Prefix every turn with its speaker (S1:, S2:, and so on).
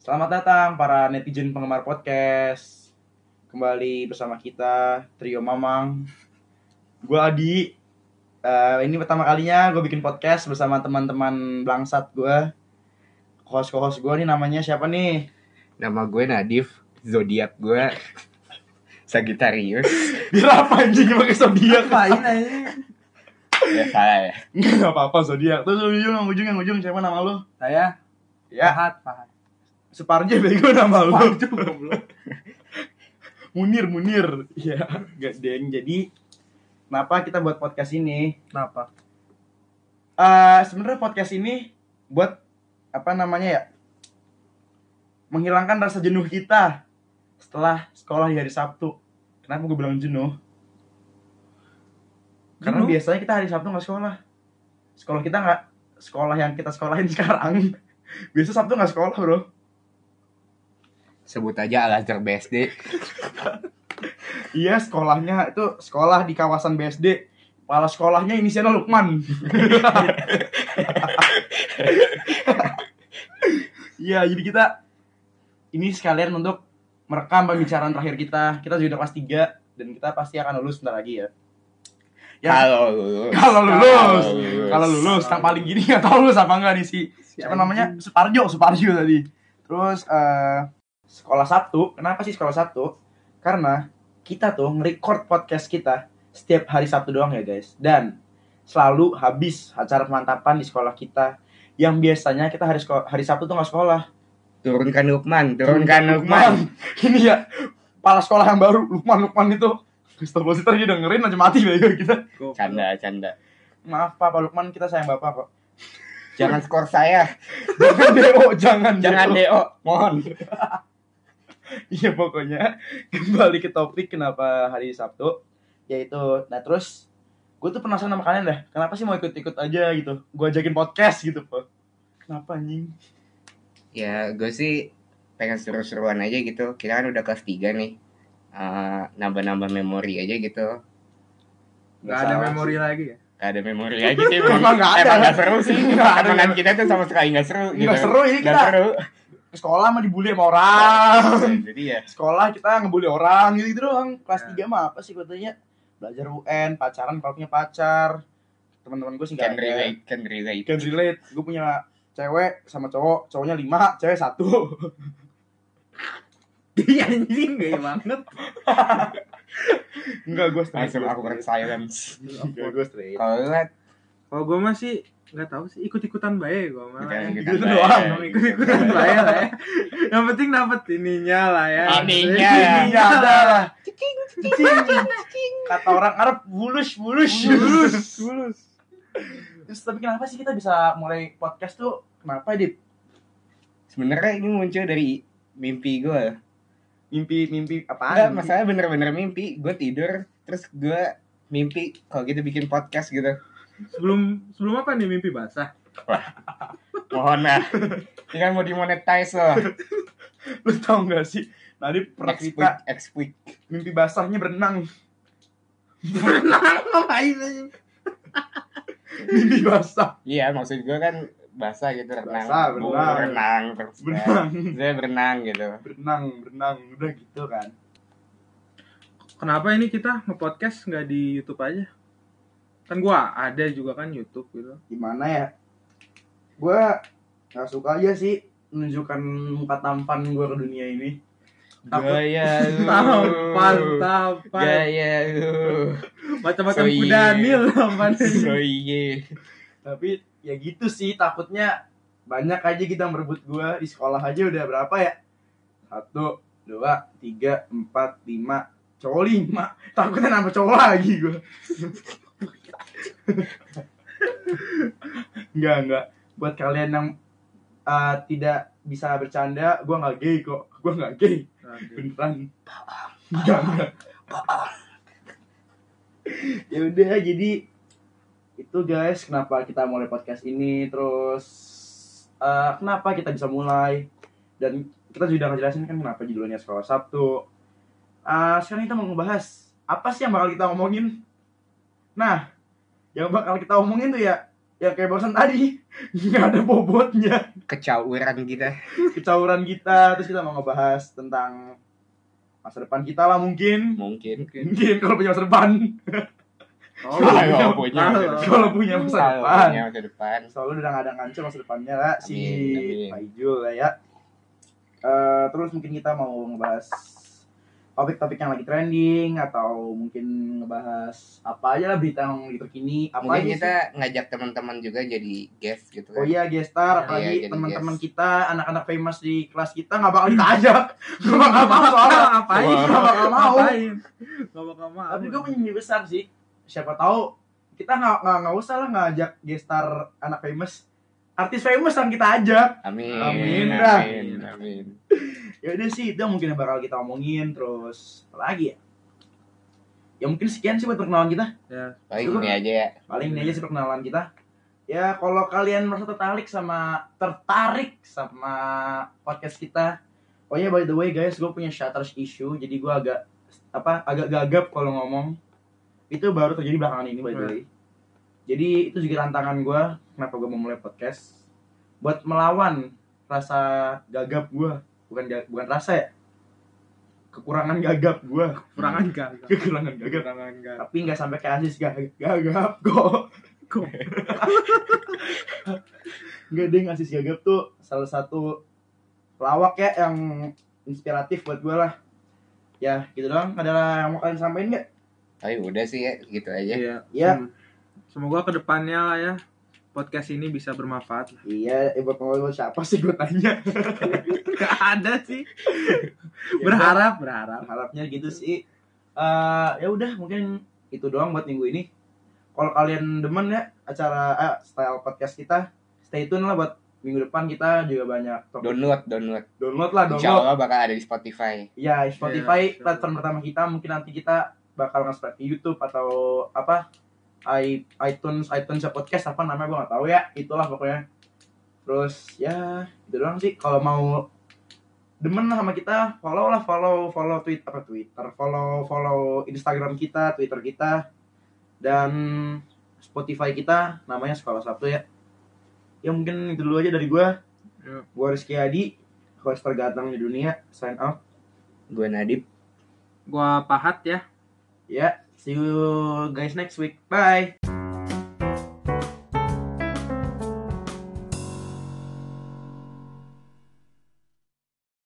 S1: Selamat datang para netizen penggemar podcast. Kembali bersama kita Trio Mamang. Gue Adi. Eh, ini pertama kalinya gue bikin podcast bersama teman-teman Blangsat gue. Host-host gue nih namanya siapa nih?
S2: Nama gue Nadif, zodiak gue Sagittarius.
S1: Biar apa anjing pakai zodiak?
S3: Ngapain aja?
S2: ya salah ya.
S1: Enggak apa-apa zodiak. Terus ujung yang ujung yang ujung siapa nama lu?
S3: Saya
S1: Ya,
S3: Fahad, Fahad.
S1: Suparjo bego nama lu.
S3: Waduh, goblok.
S1: Munir, Munir. Ya, gak deng. Jadi kenapa kita buat podcast ini?
S3: Kenapa?
S1: Eh, sebenarnya podcast ini buat apa namanya ya? Menghilangkan rasa jenuh kita setelah sekolah di hari Sabtu. Kenapa gue bilang jenuh? Karena
S3: Jenuh?
S1: biasanya kita hari Sabtu nggak sekolah. Sekolah kita nggak sekolah yang kita sekolahin sekarang. Biasa Sabtu nggak sekolah bro.
S2: Sebut aja Al Azhar BSD.
S1: Iya sekolahnya itu sekolah di kawasan BSD. Kepala sekolahnya inisialnya Lukman. Iya jadi kita ini sekalian untuk merekam pembicaraan terakhir kita. Kita sudah kelas 3 dan kita pasti akan lulus sebentar lagi ya. Ya,
S2: Kalau lulus.
S1: kalau lulus,
S2: Kalau lulus.
S1: kalau lulus, yang paling gini nggak tahu lulus apa enggak nih si siapa namanya Suparjo Suparjo tadi terus eh sekolah Sabtu kenapa sih sekolah Sabtu karena kita tuh nge-record podcast kita setiap hari Sabtu doang ya guys dan selalu habis acara pemantapan di sekolah kita yang biasanya kita hari seko- hari Sabtu tuh nggak sekolah
S2: Turunkan Lukman, turunkan Lukman.
S1: ini ya kepala sekolah yang baru Lukman Lukman itu Gustavo Sitter dia dengerin aja mati ya kita
S2: Canda, canda.
S1: maaf Pak Pak Lukman kita sayang Bapak kok
S2: Jangan skor saya,
S1: jangan deo jangan
S2: jangan
S1: DO.
S2: DO, mohon.
S1: Iya pokoknya kembali ke topik kenapa hari Sabtu yaitu nah terus gue tuh penasaran sama kalian dah kenapa sih mau ikut-ikut aja gitu gue ajakin podcast gitu po kenapa anjing
S2: Ya, gue sih pengen seru-seruan aja gitu. Kita kan udah kelas 3 nih. Eh, nambah-nambah memori aja gitu.
S3: Gak ada memori lagi ya?
S2: Gak ada memori aja sih. memang.
S1: Emang nggak ada.
S2: Emang gak seru sih.
S1: Nggak ada.
S2: Pertemanan kita tuh sama sekali gak seru.
S1: nggak seru ini
S2: Gak
S1: kita
S2: seru.
S1: ke sekolah mah dibully sama orang
S2: Jadi ya.
S1: sekolah kita ngebully orang gitu, gitu doang kelas
S2: Iya.
S3: Ya.
S1: 3 mah apa sih katanya belajar UN pacaran kalau punya pacar teman-teman gue sih nggak
S2: Can
S1: ada
S2: relate, can relate.
S1: can relate gue punya cewek sama cowok cowoknya lima cewek satu
S3: Iya anjing gay banget.
S1: enggak gue straight
S2: Langsung
S1: gua
S2: aku kan,
S1: straight.
S2: silence.
S1: Enggak gue straight
S2: Kalau lu Nat,
S3: Kalau gue masih nggak tahu sih ikut-ikutan baik gue malah.
S2: Bukan
S3: ya.
S2: ikutan
S1: gitu
S2: baik.
S1: doang,
S3: Emang ikut-ikutan baik lah ya. Yang penting dapat ininya lah ya.
S2: Ininya.
S1: Iya
S3: Ininya
S1: ada
S3: lah.
S1: lah. Kata orang Arab bulus bulus.
S3: Tulus, tulus.
S1: Terus tapi kenapa sih kita bisa mulai podcast tuh? Kenapa di
S2: Sebenarnya ini muncul dari mimpi gue.
S1: mimpi mimpi
S2: Enggak,
S1: apaan?
S2: masalah bener-bener mimpi. Gue tidur, terus gue mimpi kalau gitu bikin podcast gitu.
S3: Sebelum sebelum apa nih mimpi basah?
S2: Mohon lah. Ini kan mau dimonetize loh.
S1: Lu tau gak sih? Tadi pernah
S2: Next
S1: cerita
S2: week, next week.
S1: mimpi basahnya berenang.
S3: Berenang ngapain aja?
S1: Mimpi basah.
S2: Iya, maksud gue kan basah gitu renang.
S1: Basah,
S2: Mau
S1: berenang.
S2: berenang, terus berenang.
S1: Berenang,
S2: Saya berenang gitu.
S1: berenang, berenang. Udah gitu kan.
S3: Kenapa ini kita nge-podcast nggak di YouTube aja? Kan gua ada juga kan YouTube gitu.
S1: Gimana ya? Gue nggak suka aja sih menunjukkan muka tampan gue ke dunia ini. Takut.
S2: Gaya lu.
S3: Tampan, tampan.
S2: Hmm. Gaya lu.
S3: Macam-macam
S2: So,
S3: kuda
S2: iya.
S3: nil apaan sih?
S2: So, iya.
S1: tapi ya gitu sih takutnya banyak aja kita merebut gua di sekolah aja udah berapa ya satu dua tiga empat lima cowok lima takutnya nambah cowok lagi gua nggak nggak buat kalian yang uh, tidak bisa bercanda gua nggak gay kok gua nggak gay beneran enggak enggak ya udah jadi itu guys kenapa kita mulai podcast ini terus eh, kenapa kita bisa mulai dan kita sudah ngejelasin kan kenapa judulnya sekolah Sabtu Eh, sekarang kita mau ngebahas apa sih yang bakal kita omongin nah yang bakal kita omongin tuh ya ya kayak barusan tadi nggak ada bobotnya
S2: kecauran kita
S1: kecauran kita terus kita mau ngebahas tentang masa depan kita lah mungkin
S2: mungkin
S3: Mungkin.
S1: mungkin kalau punya masa depan
S3: Oh,
S2: Kalau punya.
S1: kalau punya Iya, masa depan
S2: Tahunnya Iya, masa depan
S1: selalu udah nggak ada ngancur masa depannya lah si
S2: Amin, amin.
S1: Pak Ijul lah ya Eh, terus mungkin kita mau ngebahas topik-topik yang lagi trending atau mungkin ngebahas apa aja lah berita yang lagi terkini apa
S2: mungkin
S1: aja
S2: kita
S1: sih.
S2: ngajak teman-teman juga jadi guest gitu
S1: Oh
S2: kan
S1: iya, gestar,
S2: Iya,
S1: apalagi
S2: jadi
S1: teman-teman
S2: guest.
S1: kita, anak-anak famous di kelas kita nggak bakal kita ajak, nggak bakal mau soalnya.
S3: ngapain?
S2: Wah.
S1: Nggak bakal mau.
S3: Ngapain? Nggak bakal mau.
S1: Tapi gue punya mimpi besar sih. Siapa tahu kita nggak nggak nggak usah lah ngajak gestar anak famous, artis famous yang kita ajak.
S2: amin
S1: Amin, dah.
S2: amin amin
S1: ya udah sih itu yang mungkin yang bakal kita omongin terus apa lagi ya ya mungkin sekian sih buat perkenalan kita
S2: paling ini aja ya
S1: paling ini aja sih perkenalan kita ya kalau kalian merasa tertarik sama tertarik sama podcast kita oh ya by the way guys gue punya shutter issue jadi gue agak apa agak gagap kalau ngomong itu baru terjadi belakangan ini by the way jadi itu juga tantangan gue kenapa gue mau mulai podcast buat melawan rasa gagap gue bukan ga- bukan rasa ya kekurangan gagap gue
S3: Kurangan gagap.
S1: kekurangan gagap
S3: Kurangan gagap.
S1: tapi nggak sampai kayak Aziz gag- gagap kok
S3: Kok?
S1: nggak deh Aziz gagap tuh salah satu pelawak ya yang inspiratif buat gue lah ya gitu doang adalah yang mau kalian sampaikan nggak
S2: tapi udah sih ya gitu aja
S3: Iya.
S1: ya
S3: Hmm. Semoga kedepannya lah ya podcast ini bisa bermanfaat.
S1: iya eh, buat ngomong buat siapa sih gue tanya
S3: Gak ada sih.
S1: Iya, berharap
S3: Berharap, berharap.
S1: harapnya gitu sih Eh, ya udah mungkin itu doang buat minggu ini kalau kalian demen ya acara eh, style podcast kita stay tune lah buat minggu depan kita juga banyak topik.
S2: download download
S1: download lah
S2: Insya
S1: download
S2: Allah bakal ada di Spotify
S1: Ya, Spotify
S3: Iya, sure.
S1: platform pertama kita mungkin nanti kita bakal nge-spread di YouTube atau apa i- iTunes iTunes ya podcast apa namanya gue nggak tahu ya itulah pokoknya terus ya itu doang sih kalau mau demen lah sama kita follow lah follow follow tweet apa Twitter follow follow Instagram kita Twitter kita dan Spotify kita namanya sekolah Sabtu ya ya mungkin itu dulu aja dari gue
S3: Yuk.
S1: gue Rizky Adi host terganteng di dunia sign out
S2: gue Nadib
S3: Gua pahat ya.
S1: Yeah. See you guys next week. Bye.